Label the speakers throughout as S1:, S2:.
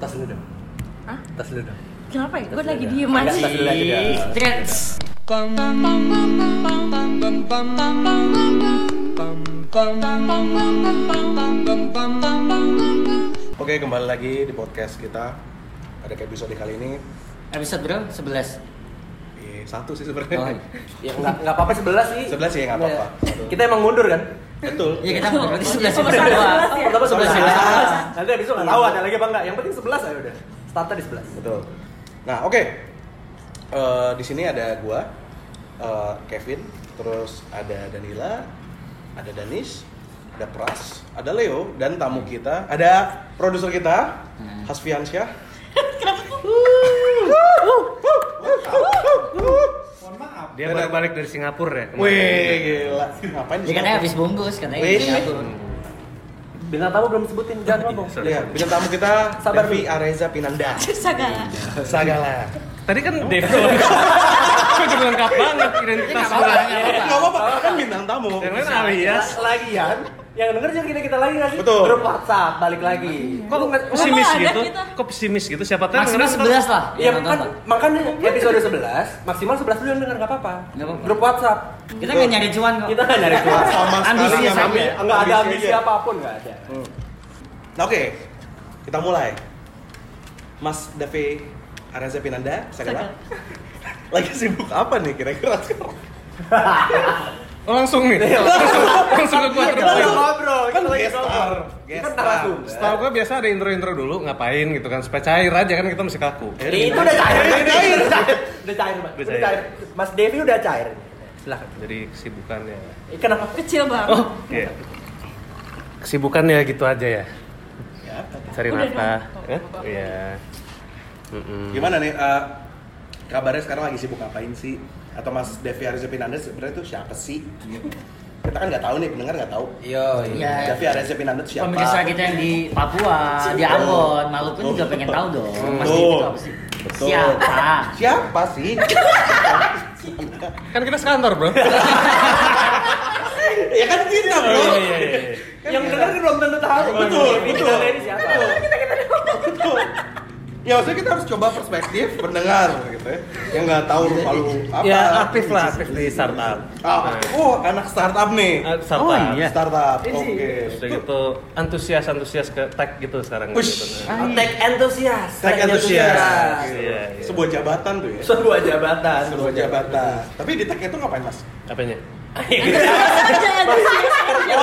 S1: Tas dulu dong.
S2: Hah?
S1: Tas dulu dong.
S2: Kenapa ya? Gue
S1: Tas dulu
S2: lagi
S1: dong.
S2: diem
S1: Enggak,
S2: aja.
S1: Tas dulu aja dah.
S2: Stretch.
S3: Oke, kembali lagi di podcast kita. Ada ke episode kali ini
S4: Episode bro, 11
S3: eh, satu sih sebenarnya.
S1: Ya enggak enggak apa-apa 11 sih.
S3: 11 sih, nggak apa-apa. Satu.
S1: Kita emang mundur kan?
S3: Betul.
S4: Iya kita mau berarti 11
S2: Oh,
S4: episode
S2: sebelas.
S4: doang
S2: Oh,
S1: Oh, pertama 11.
S4: 11.
S1: Nanti habis itu enggak tahu ada lagi apa enggak. Yang penting 11 aja udah. Startnya di 11.
S3: Betul. Nah, oke. Eh, di sini ada gua, eh, Kevin, terus ada Danila, ada Danis, ada Pras, ada Leo dan tamu kita, ada produser kita,
S5: Hmm.
S3: Hasfiansyah.
S5: Dia baru balik dari Singapura ya? kan
S3: Wih, gila. Ngapain di
S4: Ya katanya
S3: Singapura?
S4: habis bungkus, katanya
S3: Wih.
S4: di Singapura
S1: Bintang tamu belum sebutin, jangan ngomong. Iya.
S5: Sorry.
S3: Lihat, Iya, bintang tamu kita
S1: Sabar
S3: Devi Areza Pinanda.
S1: Iya,
S2: Sagala.
S3: Sagala.
S5: Tadi kan Dev lengkap Kok jadi lengkap banget identitas orang
S3: Enggak apa-apa, kan bintang tamu.
S5: Yang lain alias
S1: Iya, Lagian yang denger jangan kita kita lagi nggak sih?
S3: Betul.
S1: Grup WhatsApp balik lagi.
S5: Kok
S1: nggak-
S5: pesimis
S2: Emang ada
S5: gitu?
S2: kita?
S5: Kok pesimis gitu? Siapa tahu
S4: Maksimal
S5: yang
S4: 11 lah
S1: Iya
S4: yang
S1: kan
S4: nonton.
S1: makanya episode 11 maksimal 11 dulu yang denger nggak apa-apa.
S4: Nggak apa-apa.
S1: Grup WhatsApp.
S4: Kita nggak nyari cuan kok
S1: Kita nggak nyari keluar.
S3: Sama sekali
S4: Ambisinya
S3: nggak
S4: sama.
S3: ada.
S1: Enggak ada ambisi
S3: aja.
S1: apapun nggak ada.
S3: Nah, oke. Kita mulai. Mas Devi Areza Pinanda, Sagala. Lagi sibuk apa nih kira-kira sekarang?
S5: Oh langsung nih? Langsung, langsung ke Kan gua
S1: Kita lagi
S5: terpoin
S1: ngobrol, kita
S3: Kan
S1: lagi
S3: guest
S1: ngobrol.
S3: star,
S1: Kita kan
S3: guest star.
S1: narasumber.
S5: Setahu gua biasa ada intro-intro dulu ngapain gitu kan Supaya cair aja kan kita masih kaku
S1: Itu udah cair, udah cair, udah cair, udah cair, Mas.
S5: Udah
S1: Udah
S5: cair.
S1: cair. Mas Devi udah cair. Silakan.
S5: Jadi kesibukannya
S1: Eh, Kenapa?
S2: Kecil banget.
S5: Oh iya Kesibukannya gitu aja ya? Cari
S2: Udah
S5: nafkah
S2: dong.
S5: Eh? Iya Mm-mm.
S3: Gimana nih eh, kabarnya sekarang lagi sibuk ngapain sih? Atau Mas Devi Areza Pinanda sebenarnya itu siapa sih? Kita kan nggak tahu nih, pendengar nggak tahu.
S1: Yo,
S4: Iya.
S3: Devi Areza Pinanda itu siapa?
S4: Pemirsa kita yang di Papua, di Ambon, Maluku juga pengen tahu dong Mas Devi itu apa sih?
S3: Betul.
S4: Siapa?
S3: Siapa sih?
S5: Kan kita sekantor bro
S3: ya kan kita, Bro.
S5: Oh, iya, iya, iya.
S1: yang denger kan belum tentu tahu.
S3: Betul,
S1: Devi
S3: betul.
S1: Pinanda ini siapa?
S3: Iya,
S5: iya.
S3: Betul. Ya maksudnya kita harus coba perspektif pendengar gitu ya. Yang nggak tahu lupa lu apa.
S5: Ya aktif lah, aktif di startup
S3: Ah, oh, anak startup nih.
S5: Ah, startup.
S3: Oh, iya. Startup.
S1: Ini
S3: Oke.
S1: sih.
S5: Udah gitu antusias antusias ke tech gitu sekarang
S3: Ush.
S5: gitu. Nah.
S1: Tech enthusiast.
S3: Tech enthusiast.
S5: Iya, iya.
S3: Sebuah jabatan tuh ya.
S1: Sebuah jabatan.
S3: Sebuah jabatan. Tapi di tech itu ngapain, Mas?
S5: Apanya?
S1: iya.
S2: Aja yang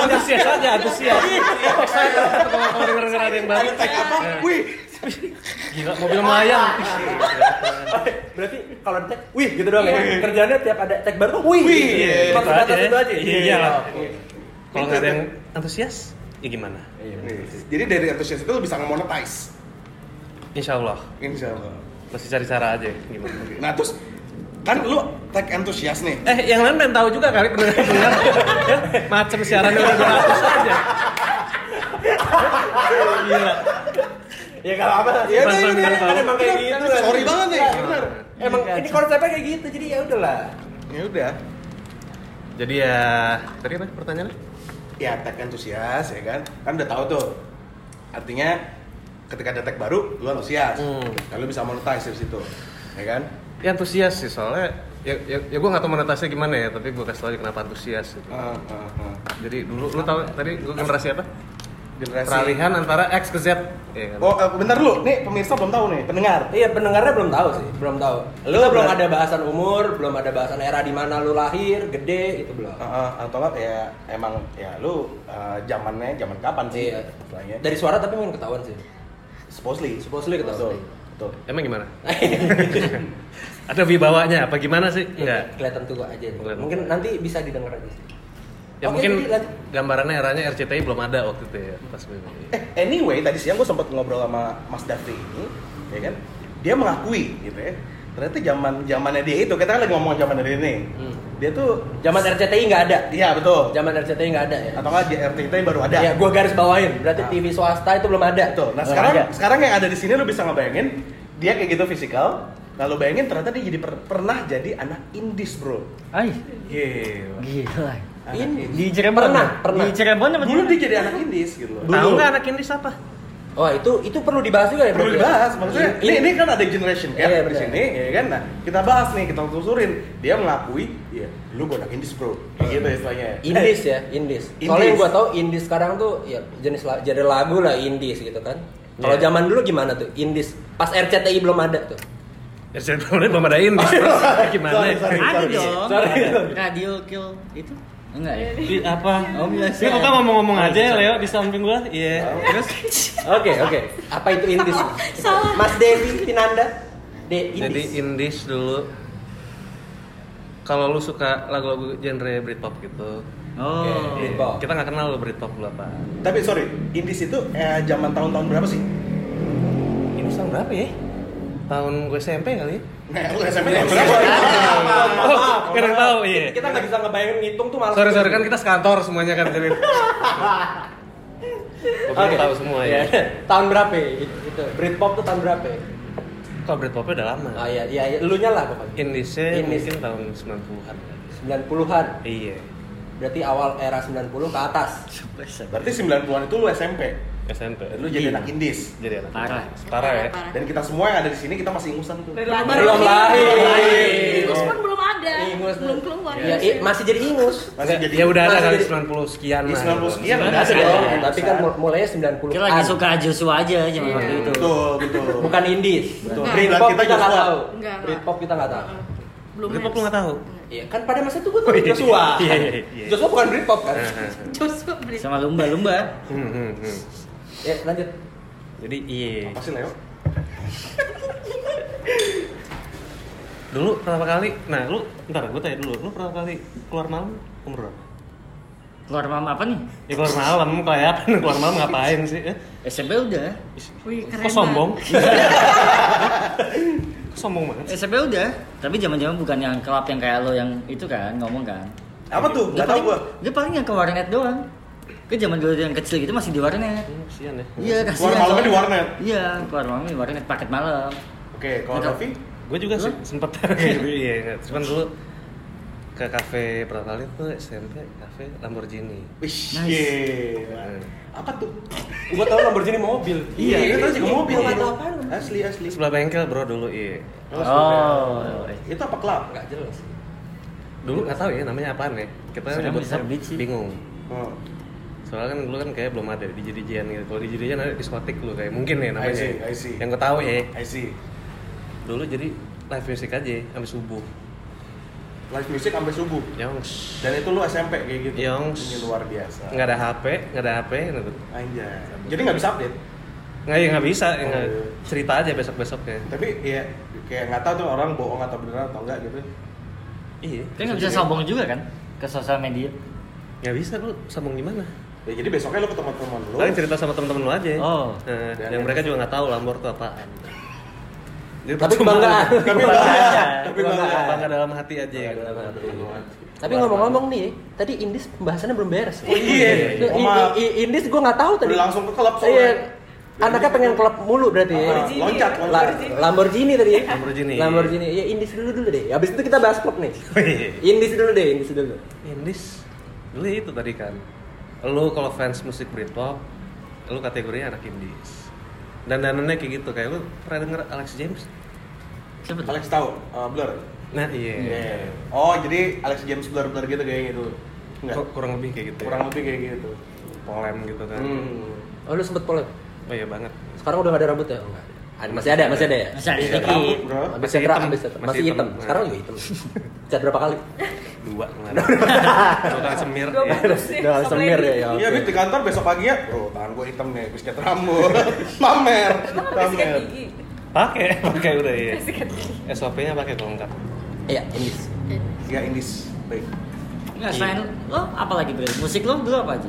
S5: Oh, antusias aja, antusias. Excited kalau denger-denger ada yang baru.
S3: Ada tech apa? Wih,
S5: Gila, mobil melayang.
S1: Berarti kalau di tag, wih gitu doang ya. Kerjaannya tiap ada tag baru tuh wih.
S3: Wih,
S1: gitu.
S3: iya,
S1: Maksud
S5: gitu
S1: atas
S5: aja.
S1: itu aja.
S5: Iya, iyalah.
S1: Oke.
S5: Kalau nggak ada yang antusias, ya gimana?
S3: Nih, Jadi dari antusias itu lu bisa nge-monetize.
S5: Insya Allah,
S3: Insya Allah.
S5: masih cari cara aja gimana.
S3: Nah, terus kan lu tech entusias nih.
S5: Eh, yang lain pengen tahu juga kali pendengar-pendengar. Ya, Macem siarannya udah beratus aja. Gila.
S1: Ya kalau apa?
S3: Ya,
S5: Pas
S3: ini, ini,
S5: pendengar
S3: ini,
S5: tahu.
S3: emang kayak gitu. kan. Sorry banget nih. Bener.
S1: Iya, Emang ini konsepnya kayak gitu. Jadi ya udahlah.
S3: Ya udah.
S5: Jadi ya, tadi apa pertanyaannya?
S3: ya tag antusias ya kan kan udah tahu tuh artinya ketika ada tag baru lu antusias
S5: Hmm.
S3: kalau bisa monetize dari situ ya kan
S5: Ya antusias sih soalnya ya, ya, ya gue nggak tahu monetisasi gimana ya tapi gue kasih tau aja kenapa antusias gitu.
S3: Heeh, heeh, heeh.
S5: jadi dulu lu tahu tadi gue generasi apa
S3: generasi
S5: peralihan antara X ke Z ya kan?
S3: oh eh, bentar lu nih pemirsa belum tahu nih pendengar
S1: Iya pendengarnya belum tahu sih, belum tahu.
S3: Lu
S1: Kita belum
S3: berat-
S1: ada bahasan umur, belum ada bahasan era di mana lu lahir, gede itu belum.
S3: Heeh, atau nggak ya emang ya lu eh, zamannya zaman kapan sih
S1: Iya.
S3: istilahnya
S1: Dari suara tapi mungkin ketahuan sih.
S3: supposedly
S1: Supposedly ketahuan.
S3: betul
S5: emang gimana ada wibawanya apa gimana sih enggak
S1: Kelihatan tua aja.
S5: Kelihatan
S1: Mungkin
S5: tua.
S1: nanti bisa didengar aja sih.
S5: ya
S1: Oke,
S5: mungkin
S1: jadi lanjut.
S5: gambarannya eranya RCTI belum ada waktu itu ya pas gue
S3: Eh, anyway, tadi siang gue sempat ngobrol sama Mas Dafri ini, ya kan? Dia mengakui, gitu ya. Ternyata zaman zamannya dia itu, kita kan lagi ngomong zamannya dia ini.
S1: Hmm.
S3: Dia tuh,
S1: Zaman RCTI nggak ada.
S3: iya betul.
S1: Zaman RCTI nggak ada ya.
S3: Atau nggak di RTT baru ada.
S1: Ya, gua garis bawahin. Berarti
S3: Nah.
S1: TV swasta itu belum ada.
S3: Betul. Nah
S1: Belum
S3: sekarang,
S1: ada.
S3: sekarang yang ada di sini lu bisa ngebayangin dia kayak gitu fisikal. Lalu bayangin ternyata dia jadi per- pernah jadi anak indis bro. Iya.
S4: Ay,
S3: Gila.
S4: gila
S3: Anak
S1: Ini
S3: indis.
S4: Di Cirebon
S1: Pernah,
S4: ya?
S1: pernah.
S4: Di Cirebon apa di
S3: Dulu dia jadi anak indis gitu loh.
S5: tahu nggak anak ini siapa
S1: Wah Oh, itu itu perlu dibahas juga ya.
S3: Iya, perlu
S1: berarti ya?
S3: dibahas maksudnya ini, ini kan ada generation gap
S1: Iya,
S3: di
S1: benar.
S3: sini ya kan nah kita bahas nih kita telusurin dia mengakui ya lu bodak indis bro kayak gitu istilahnya
S1: Indies ya, Indies. Soalnya
S3: Indies.
S1: yang gue tau Indies sekarang tuh ya jenis la- genre lagu lah Indies gitu kan. Kalau
S5: Iya.
S1: zaman dulu gimana tuh Indies? Pas RCTI belum ada tuh.
S5: Ya saya belum belum adain terus gimana?
S3: Sorry, sorry.
S4: Ada dong.
S1: Sorry.
S4: Radio kill itu enggak ya? apa? Oh, biasa.
S6: Ini bukan ngomong-ngomong aja
S3: Nah,
S6: Leo di samping gua. Iya. Terus
S1: Oke oke. Apa itu Indies?
S2: Salah.
S1: Mas Devi Pinanda. De
S5: Jadi
S1: Indies.
S5: indies dulu kalau lu suka lagu-lagu genre Britpop gitu.
S4: Oh.
S1: Britpop.
S5: Kita nggak kenal lo Britpop lu apa.
S3: tapi sorry indis itu eh, zaman tahun-tahun berapa sih
S5: Ini tahun berapa ya? Tahun gue SMP kali.
S3: Nah, lu SMP tahun berapa?
S5: Oh, kurang tahu iya.
S1: Kita nggak bisa ngebayangin ngitung tuh malah.
S5: Sorry sorry kan kita sekantor semuanya kan jadi. Oke, tahu semua ya.
S1: Iya. tahun berapa ya? itu? itu? Britpop tuh tahun berapa? ya?
S5: Kalau Britpopnya udah lama.
S1: Ah ya, ya, ya elunya lah pokoknya.
S5: Indisnya
S1: Indies.
S5: mungkin tahun 90-an.
S1: 90-an.
S5: Iya.
S1: Berarti awal era 90 ke atas. Iya.
S3: Berarti 90-an itu lu SMP.
S5: SMP.
S3: Dan lu jadi anak indis.
S5: jadi anak.
S4: Parah.
S5: Parah ya.
S2: Parah.
S3: Dan kita semua yang ada di sini kita masih ingusan tuh. Iya,
S6: Relasi.
S1: Belum lahir. Iya,
S2: Ingus pun belum ada.
S1: Ingus
S2: belum keluar.
S1: Ya, i- masih jadi ingus.
S3: Masih
S5: Nggak,
S3: jadi
S5: ya udah ada
S1: masih
S5: kali
S1: jadi-
S5: 90 sekian
S3: Di
S5: lah.
S3: 90 sekian
S1: Ada
S3: ada
S1: dong,
S3: dong.
S1: tapi kan mul- mulainya 90
S4: Kita lagi Iya. suka Joshua aja
S1: iya,
S4: zaman waktu itu.
S3: betul betul.
S1: Bukan indies.
S3: Betul.
S2: Nah.
S1: Britpop
S3: Kita
S1: kita nggak
S3: Joshua.
S1: tahu.
S2: Enggak, enggak.
S1: Britpop kita nggak tahu.
S2: Belum.
S5: Britpop lu nggak tahu.
S1: Iya, kan pada masa itu gue tuh Joshua.
S5: Iya, iya, iya.
S1: Joshua bukan Britpop kan?
S2: Joshua beli.
S4: Sama lumba-lumba.
S5: nah, Hmm, hmm, hmm.
S1: Ya, lanjut.
S5: Jadi iya.
S3: Apa sih Leo?
S5: Dulu pertama kali, nah lu ntar gue tanya dulu, lu pertama kali keluar malam umur berapa?
S4: Keluar malam apa nih?
S5: Ya keluar malam, kelihatan keluar malam ngapain sih? Eh,
S4: SMP udah.
S2: Wih, keren.
S5: Kok sombong?
S1: Iya,
S5: Kok sombong banget sih?
S4: SMP udah. Tapi zaman-zaman bukan yang kelap yang kayak lo yang itu kan ngomong kan.
S3: Apa tuh?
S4: Dia
S3: Enggak tahu
S4: paling-
S3: gua.
S4: Dia paling yang ke warnet doang. Ke zaman dulu yang kecil gitu masih di warnet.
S5: Hmm, Kesian ya.
S4: Iya, kasihan.
S3: Keluar malamnya di warnet?
S4: Iya, keluar malam di warnet paket malam.
S3: Oke, kalau
S4: Nggak
S3: Raffi
S5: Gue juga sih sempet iya, iya. cuman dulu ke kafe pertama kali tuh SMP, kafe Lamborghini.
S3: Wish,
S4: Nice.
S3: yeah.
S5: Hmm.
S3: Apa tuh?
S1: Gue tahu Lamborghini mobil.
S3: Iya, itu tadi juga mobil.
S1: Gue nggak tahu apaan.
S3: Asli, asli.
S5: Sebelah bengkel bro dulu iya.
S3: Oh, sebenarnya.
S4: eh.
S3: Itu apa klub?
S1: Nggak jelas.
S5: Dulu nggak tahu ya namanya apaan ya. Kita
S4: Sekarang
S5: nyebut
S4: bisa beat sih.
S5: bingung.
S3: Oh.
S5: soalnya kan dulu kan kayak belum ada di jadi gitu kalau di jadi ada diskotik lu kayak mungkin ya namanya
S3: I see, I see.
S5: yang gue tahu ya
S3: I see.
S5: dulu jadi live music aja sampai subuh
S3: Live music sampai subuh.
S5: yongs
S3: Dan itu lu SMP kayak gitu.
S5: Yongs.
S3: Ini luar biasa.
S5: nggak ada hp nggak ada hp gitu.
S3: Anjay. Jadi nggak bisa update.
S5: nggak ya nggak bisa ya, nggak-
S3: Oh.
S5: cerita aja besok besoknya
S3: Tapi ya kayak nggak tahu tuh orang bohong atau beneran atau enggak gitu.
S5: iya
S4: Kan nggak bisa sombong juga kan ke sosial media.
S5: nggak bisa lu sambung di mana
S3: Ya jadi besoknya lu ke teman-teman lu.
S5: paling cerita sama temen-temen lu aja
S4: Oh.
S5: Nah,
S3: Dan-
S5: yang mereka juga nggak tahu lambor tuh apaan Jadi
S1: Tapi
S5: percuma.
S1: kebanggaan.
S3: Tapi bangga. Tapi
S5: Tapi bangga,
S3: bangga.
S5: bangga dalam hati aja
S3: Iya,
S5: gitu.
S1: Iya, Tapi ngomong-ngomong nih, tadi Indis pembahasannya belum beres.
S3: Oh, iya.
S1: Tuh, i- i-
S3: Maaf.
S1: i- Indis gue nggak tahu tadi.
S3: Udah langsung ke klub soalnya.
S1: Iya. Anaknya pengen klub mulu berarti ya.
S3: Ah, loncat,
S1: La-
S3: loncat.
S1: Lamborghini tadi ya.
S5: Lamborghini.
S1: Lamborghini. Ya Indis dulu dulu deh. Habis itu kita bahas klub nih.
S3: Oh, iya.
S1: Indis dulu deh, Indis dulu.
S5: Indis dulu ya itu tadi kan lu kalau fans musik Britpop lu kategorinya anak indies dan danannya kayak gitu kayak lu pernah denger Alex James
S4: Siapa tuh?
S3: Alex tahu eh, Blur.
S5: nah iya
S3: Iya. Oh, jadi Alex James Blur Blur gitu kayaknya dulu. Enggak.
S5: Kur- kurang lebih kayak gitu ya.
S3: Kurang lebih kayak gitu.
S5: polem gitu kan
S3: Hmm.
S1: Oh lu sempet polem.
S5: oh iya banget
S1: Sekarang udah gak ada rambut ya? Enggak. Ada, masih ada, masih ada ya?
S4: Masih ada
S3: Iya,
S4: sedikit.
S3: rambut, Bro.
S1: Habis
S5: Masih
S1: cedera,
S5: hitam.
S1: habis cedera.
S5: Masih
S1: Masih hitam.
S5: hitam.
S1: Sekarang juga hitam. Cat berapa kali?
S5: dua kemarin dua kali semir
S6: Dua
S5: ya.
S6: bagus sih.
S1: iya. Udah semir ya. ya
S3: Iya, gue
S1: oke.
S3: di kantor besok pagi ya, bro, tangan gue hitam nih, habis cat rambut, pamer,
S6: Emang
S2: kan
S6: ada sikat
S3: pamer.
S6: gigi?
S5: pakai pakai udah iya
S6: Sikat gigi.
S5: SOP-nya pakai kalau enggak
S1: Iya, Indis.
S3: Ya, Indis, baik.
S4: Nggak, selain lo apa lagi Bro? Musik lo dulu apa aja?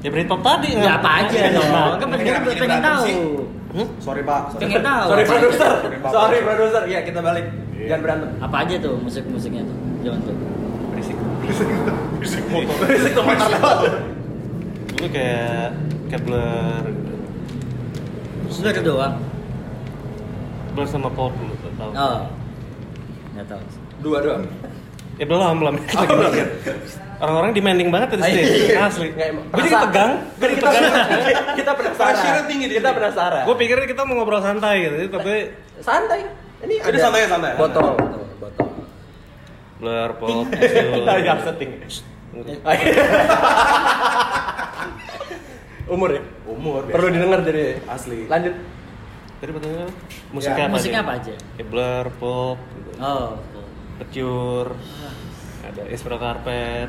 S5: ya Britpop tadi
S4: Ya apa aja
S5: Iya.
S4: dong. Kan pengen,
S3: Kenapa jadi berantem
S4: pengen tahu.
S3: sih? Sorry pak, sorry.
S4: Pengen tahu.
S1: Sorry
S4: apa aja.
S1: produser. Sorry produser. Iya, kita balik.
S3: Iya.
S1: Jangan berantem.
S4: Apa aja tuh musik-musiknya tuh? Jangan tuh.
S5: berisik
S3: Berisik motor, berisik motor.
S5: dulu kayak kayak Blur gitu.
S4: Sudah itu doang.
S5: Blur sama Paul dulu
S1: Oh.
S5: tau
S4: Oh. Enggak tahu.
S1: Dua doang.
S5: Ya belum, belum. Lagi mikir. Orang-orang demanding banget
S1: Ah,
S5: tadi sih. Asli. Gue jadi tegang. Gue
S1: iya. Jadi kita kita
S3: Pressure-nya
S1: penasaran.
S3: tinggi di
S1: Kita
S3: sini.
S1: penasaran.
S5: Gue pikir kita mau ngobrol santai gitu, tapi
S1: santai. Ini
S3: Ini santai, santai.
S1: Botol, botol, botol.
S5: blur pop.
S1: Ayah setting. Umur ya?
S3: Umur biasa.
S1: Perlu didengar dari
S3: Asli.
S1: Lanjut.
S5: Tadi pertanyaannya musiknya apa?
S4: Musiknya
S5: sih?
S4: apa aja?
S5: Ya, blur pop, gitu.
S4: Oh,
S5: pecur, ada Espero Carpet,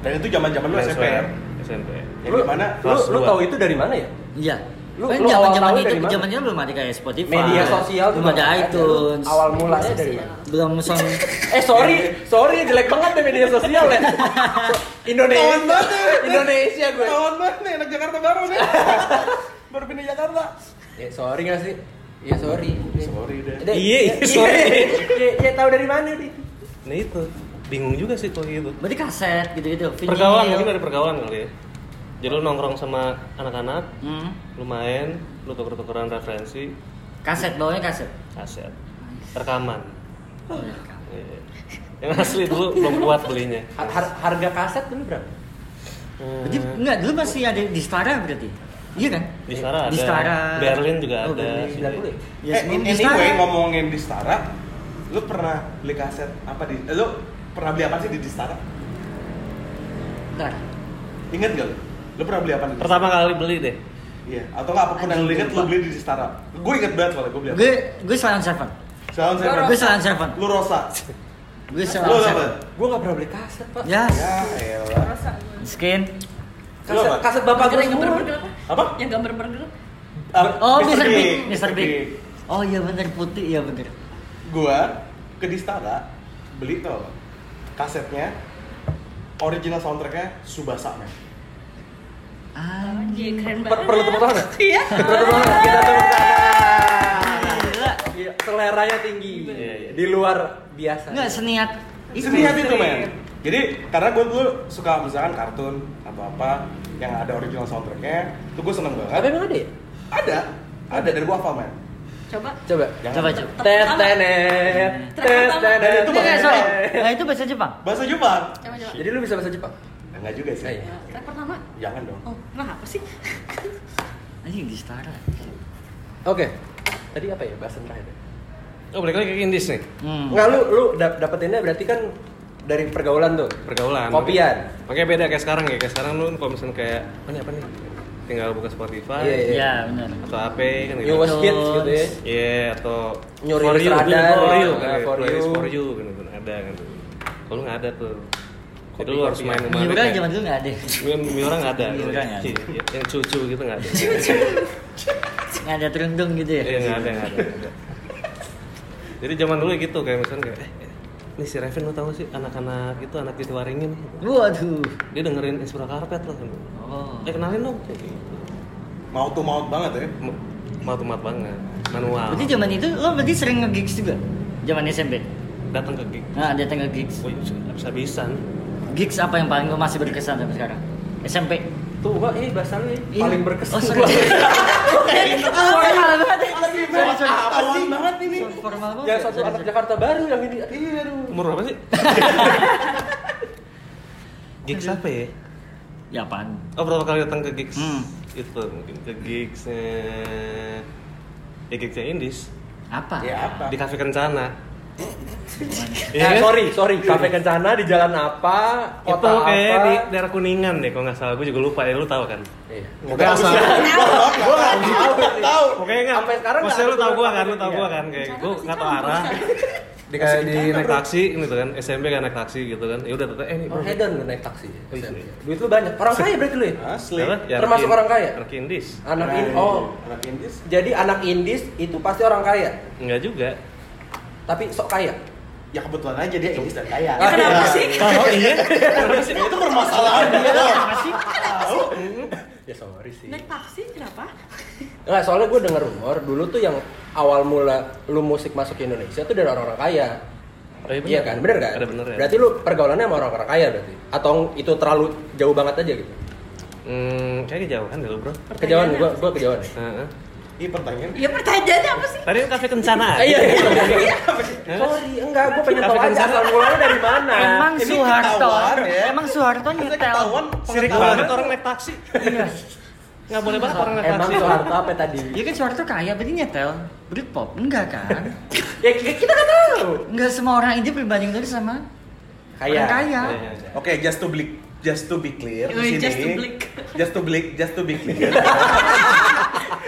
S3: Dan itu zaman-zaman lu SMP ya?
S5: SMP.
S3: Yang gimana?
S1: Iya, Lu,
S5: Kelas
S1: lu
S5: dua.
S1: tahu itu dari mana ya?
S4: iya.
S1: Lu-
S4: Kan
S1: lu
S4: zaman zaman
S1: awal-awal
S4: itu,
S1: dari mana?
S4: zaman itu belum ada kayak Spotify,
S1: Media sosial
S4: belum
S1: juga
S4: ada
S1: nggak ada.
S4: iTunes,
S1: Awal mulanya dari
S2: Sosial.
S1: mana?
S4: belum song.
S1: Eh sorry, sorry jelek banget deh media sosial ya. Indonesia.
S3: Kawan banget ya.
S1: Indonesia gue.
S3: Tahun banget nih, anak Jakarta baru nih. baru pindah Jakarta.
S1: Ya sorry gak sih? Ya sorry.
S3: Sorry deh.
S1: Dek,
S5: Iya,
S1: ya-
S5: iya, sorry.
S1: Iya, iya, tahu dari mana nih?
S5: Nah itu, bingung juga sih kalau gitu.
S4: Berarti kaset gitu-gitu, vinyl.
S5: Pergaulan, mungkin ada pergaulan kali ya. Jadi lu nongkrong sama anak-anak,
S4: Hmm,
S5: lu main, lu tuker-tukeran referensi,
S4: kaset bawahnya kaset.
S5: aset, rekaman. Iya. Yang asli dulu belum kuat belinya.
S1: Har- har- harga kaset dulu berapa?
S5: Hmm.
S4: Berarti enggak dulu masih ada di Stara berarti. Iya kan?
S5: Di Stara ada.
S4: Di Stara.
S5: Berlin juga
S4: Oh, Berlin.
S5: ada. sih.
S1: 90 ya?
S4: Ya,
S3: eh,
S4: sebelum di
S3: anyway
S4: Stara.
S3: ngomongin di Stara, lu pernah beli kaset apa di? eh, Lu pernah beli apa sih di Distara?
S4: Bentar.
S3: Ingat gak lu? Lu pernah beli apa di? Distara?
S5: Pertama kali beli deh.
S3: Iya. Atau nggak apapun yang lu inget lu beli di Distara? Gue inget banget soalnya
S5: Iya.
S3: gue beli. apa.
S4: Gue gue Silent Seven.
S3: Sound saya
S4: Gue Silent Seven.
S3: Lu Rosa. Lu
S4: Gue Silent
S3: apa?
S4: Seven.
S1: Gue gak pernah beli kaset,
S5: Iya,
S1: Pak.
S4: Ya,
S3: Ya elah.
S2: Rasa gue.
S4: skin.
S3: Lu
S1: Kaset,
S3: apa?
S1: kaset bapak gue
S2: Yang gambar
S1: semua.
S2: bergerak apa?
S3: Apa? Ah,
S2: Yang gambar bergerak.
S4: Oh, Mr. Big, Mr. Big. Oh iya bener putih, iya bener.
S3: Gue ke Distara beli tuh kasetnya original soundtracknya Subasa men.
S4: Ah,
S2: Anjir, keren
S1: Per-
S2: banget.
S1: perlu tepuk tangan nggak?
S2: Iya.
S1: Bener banget, kita tepuk tangan.
S4: gila.
S1: Iya, seleranya tinggi.
S5: Iya, iya.
S1: Di luar biasa.
S4: Enggak seniat.
S3: Itu niat itu men. Jadi karena gue dulu suka misalkan kartun atau apa yang ada original soundtracknya, tuh gue seneng
S1: Tapi
S3: banget.
S1: emang ada ya?
S3: Ada, ada dari gue hafal men.
S2: Coba.
S1: Coba.
S4: Coba coba.
S1: Tet tenet, tet tenet.
S3: Dan itu
S4: Enggak,
S3: bahasa
S4: sorry.
S3: Jepang.
S4: Nah, itu bahasa Jepang.
S3: Bahasa Jepang.
S2: Coba coba.
S1: Jadi lu bisa bahasa Jepang?
S3: Enggak juga sih.
S1: Iya.
S2: Ya, track pertama.
S3: Jangan dong.
S2: Oh, kenapa sih?
S4: Anjing di Stara.
S1: Oke. Tadi apa ya bahasan terakhir?
S5: Oh balik lagi ke Indis nih.
S4: Hmm.
S1: Enggak lu lu dap- dapetinnya berarti kan dari pergaulan tuh.
S5: pergaulan
S1: Kopian.
S5: makanya beda kayak sekarang ya kayak sekarang lu kalau misalnya kayak apa nih apa nih tinggal buka Spotify
S1: Iya, iya.
S4: Iya, bener.
S5: atau HP kan gitu
S1: New was kids gitu ya.
S5: Iya, atau
S1: Nyuri
S5: for you,
S1: radar,
S5: for you,
S1: nah,
S5: kan,
S1: for
S5: for you,
S1: you.
S5: for you, gitu, kan, ada kan. Kalau nggak ada tuh, jadi lu
S1: Kopi-kopi
S5: harus main sama
S4: Miura zaman dulu nggak ada.
S5: Miura nggak ada,
S4: Miura nggak ada.
S5: Iya, yang cucu gitu nggak ada,
S4: Nggak ada terundung gitu ya.
S5: Iya, nggak ada, nggak ada. nggak ada. Jadi zaman dulu gitu kayak misalnya kayak, eh, eh, ini si Raven lu tau nggak sih anak-anak itu anak dituaringin,
S4: Waduh.
S5: dia dengerin Inspira Karpet loh. kan.
S4: Oh.
S5: Eh kenalin dong, kayak gitu.
S3: Mau tuh mau banget ya.
S5: mau tumat banget manual
S4: Berarti zaman itu lo berarti sering nge-gigs juga? Zaman SMP?
S5: datang ke gig
S4: Nah, datang ke gigs.
S5: Wih, habis habisan
S4: Gigs apa yang paling lo masih berkesan sampai sekarang? SMP?
S1: Tuh, Pak, ini bahasa lu
S4: Iya.
S1: paling berkesan.
S4: Oh, sorry. Sorry, salah banget. Sorry, sorry.
S3: Awan banget ini.
S4: Sorry, Formal banget.
S1: Yang satu
S4: Oh, Sorry,
S1: anak
S4: sorry.
S1: Jakarta baru yang ini. Iya, aduh.
S5: umur berapa sih gigs apa ya
S4: Ya apaan?
S5: oh pertama kali datang ke gigs
S4: Hmm.
S5: itu mungkin ke gigsnya ya gigsnya Indis
S4: Apa?
S3: Ya apa?
S5: di kafe kencana
S1: Eh,
S5: Iya kan?
S1: sorry, sorry. Kafe Kencana di jalan apa?
S5: itu
S1: Kota apa?
S5: kayak di daerah kuningan deh kalau nggak salah gue juga lupa ya lu tahu kan
S1: Iya.
S5: Pokoknya asal
S1: Gua nggak tahu. Tahu.
S5: pokoknya nggak
S1: Sampai sekarang
S5: maksudnya
S1: nggak
S5: lu tahu
S1: ada
S5: gua kan lu
S1: tulisan.
S5: tahu gua kan kayak
S2: Rencana
S5: gue
S2: pasti
S5: nggak tahu
S2: campur,
S5: arah
S2: kan?
S5: di kayak di naik taksi gitu kan SMP kan naik taksi gitu kan ya udah tete eh ini
S1: Oh, hedon lu naik taksi.
S5: Oh, iya.
S1: Duit lu banyak. Orang kaya berarti lu ya?
S3: Asli.
S5: Apa? Ya,
S1: Termasuk
S5: anak
S1: orang kaya?
S5: anak indis
S3: Ah.
S1: Anak ini oh.
S3: anak Indis.
S1: Jadi anak indis itu pasti orang kaya,
S5: enggak juga
S1: tapi sok kaya.
S3: Ya kebetulan aja dia Indis dan kaya.
S2: Ya, kenapa sih?
S5: oh iya
S3: Itu permasalahan dia.
S4: Apa sih?
S1: Ya sorry sih.
S2: Naik taksi kenapa?
S1: Enggak, soalnya gue denger rumor dulu tuh yang awal mula lu musik masuk ke Indonesia tuh dari orang-orang kaya.
S5: Oh, iya bener.
S1: Iya kan, bener kan?
S5: Ada bener ya.
S1: Berarti lu pergaulannya sama orang-orang kaya berarti? Atau itu terlalu jauh banget aja gitu?
S5: hmm kayak kejauhan deh lu bro
S1: Kejauhan, ya? gue gue kejauhan.
S5: Heeh.
S3: Ini Iya, pertanyaan.
S2: Ya pertanyaannya apa sih?
S5: Tadi kan kafe kencana.
S1: Iya,
S2: Iya.
S1: Sorry, enggak, gue pengen
S5: Kita
S1: tahu aja
S5: bikin
S1: asal mulanya dari mana.
S4: Emang
S3: Ini
S4: Soeharto,
S3: ketahuan ya.
S4: emang Soeharto
S3: Kita
S4: nyetel.
S3: ketahuan
S5: Sirik
S3: pengetahuan.
S5: banget orang naik taksi.
S4: Iya.
S5: Nggak boleh banget orang naik
S1: Emang
S5: taksi.
S1: Soeharto apa ya tadi?
S4: Iya kan Soeharto kaya, berarti nyetel. Britpop, enggak kan?
S1: Ya kita nggak tahu.
S4: Enggak semua orang India berbanding tadi sama
S1: Kaya.
S4: orang
S5: Iya,
S4: kaya.
S3: Oke, just to be just to be clear
S2: Oh,
S3: di sini.
S2: just to blink.
S3: Just to blink, just to be clear.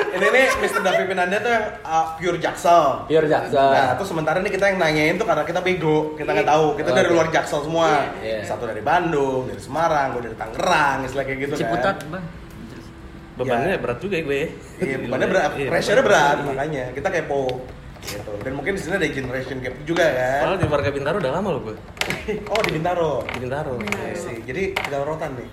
S3: ini nih Mr. Davi Pinanda tuh uh, pure jaksel.
S1: Pure Jackson.
S3: Nah, terus sementara nih kita yang nanyain tuh karena kita bego, kita nggak tahu. Kita
S1: Oh,
S3: dari
S1: iya.
S3: luar Jaksel semua.
S1: Iya.
S3: Satu dari Bandung, dari Semarang, gue dari Tangerang, istilah kayak gitu
S4: Ciputat,
S3: kan.
S4: Bang.
S5: Bebannya berat juga ya gue.
S3: Iya, bebannya berat,
S5: Iya,
S3: pressure berat makanya kita kepo. Gitu. Dan mungkin di sini ada generation gap juga kan.
S5: Soalnya di warga Bintaro udah lama loh gue.
S3: Oh, di Bintaro.
S5: Di Bintaro.
S3: Iya sih. Jadi tinggal rotan nih.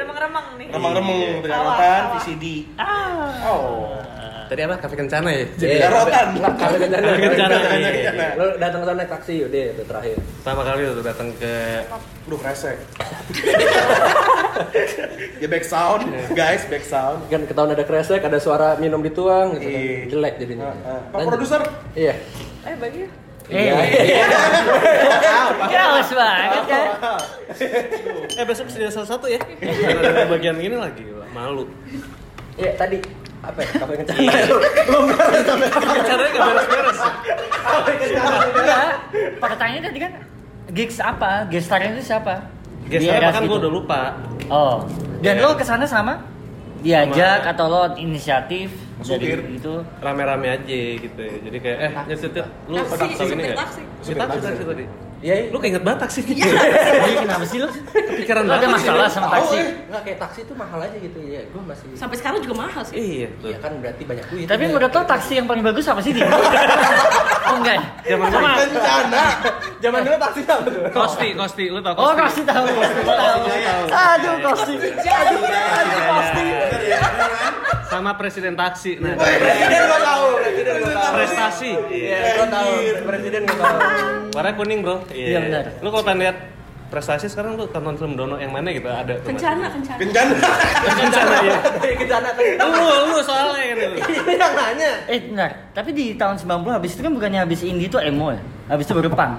S2: Remang-remang nih.
S3: Remang-remang tinggal
S2: Awal,
S3: rotan,
S2: awal.
S3: VCD.
S2: Ah.
S3: Oh.
S5: Tadi apa? Kafe kencana ya?
S3: Jadi darotan.
S1: Nggak, kagak kencana.
S5: Kagak kencana, iya,
S3: iya.
S1: Lo datang ke sana naik taksi, udah itu terakhir.
S5: Pertama kali tuh datang ke
S3: Duh, resek. ya back sound, guys, back sound.
S1: Kan ketahuan ada kresek, ada suara minum dituang gitu kan.
S3: Iya.
S1: Jelek jadinya.
S3: Ah, ah. Pak
S1: Lanjut.
S3: produser.
S1: Iya.
S2: Eh bagi.
S1: Iya.
S4: Gaus banget kan?
S5: Eh besok sudah salah satu ya. Karena ada bagian gini lagi malu.
S1: Iya, tadi apa ya? Kafe kencana. Belum
S5: Caranya nggak beres-beres.
S4: Enggak. Pertanyaannya tadi kan gigs apa? Gestarnya itu siapa?
S5: Gesternya
S4: Dieras
S5: bahkan gue
S4: gitu.
S5: kan udah lupa.
S4: Oh. Dan
S5: Iya.
S4: lo kesana sama? Diajak
S5: Sama.
S4: Iya, atau lo inisiatif?
S3: Supir.
S4: Jadi Gitu.
S5: Rame-rame aja gitu ya. Jadi kayak eh nyetit lu
S2: Taksi,
S5: taksi ini
S2: supir
S5: ya?
S2: taksi.
S5: Supir taksi taksi tadi.
S1: Iya.
S5: Lu keinget Iya, banget taksi.
S4: Jadi kenapa sih lo?
S5: Oh, Kepikiran
S4: Lo ada
S5: banget.
S4: masalah sama
S3: Tahu,
S1: ya.
S4: taksi?
S3: eh.
S1: Enggak kayak taksi tuh mahal aja gitu ya. Gue masih
S2: Sampai sekarang juga mahal sih.
S5: Iya tuh.
S1: Iya kan berarti banyak duit.
S4: Tapi menurut lo taksi yang paling bagus apa sih di? oh enggak.
S5: Zaman dulu.
S3: Kencana.
S1: Zaman dulu taksi apa tuh?
S5: Kosti, Kosti, lu tau Kosti?
S4: Oh Kosti tahu, Kosti tahu. Aduh Kosti. Aduh,
S2: iya.
S4: aduh Kosti.
S5: Sama presiden taksi. Nah,
S3: Presiden gua tahu. Presiden gua tahu.
S5: prestasi.
S1: Iya, gue tahu. Presiden gue tahu.
S5: Warna kuning, Bro.
S4: Iya, benar.
S5: Lu kalau pengen lihat prestasi sekarang lu tonton film Dono yang mana gitu ada tuh.
S2: Kencana, kencana.
S3: Kencana.
S5: Kencana ya.
S1: Dari kencana tuh.
S5: Lu, lu soalnya gitu.
S4: Iya,
S1: Ini yang nanya.
S4: Eh benar, tapi di tahun 90 habis itu kan bukannya habis indie itu emo ya? Habis itu baru punk.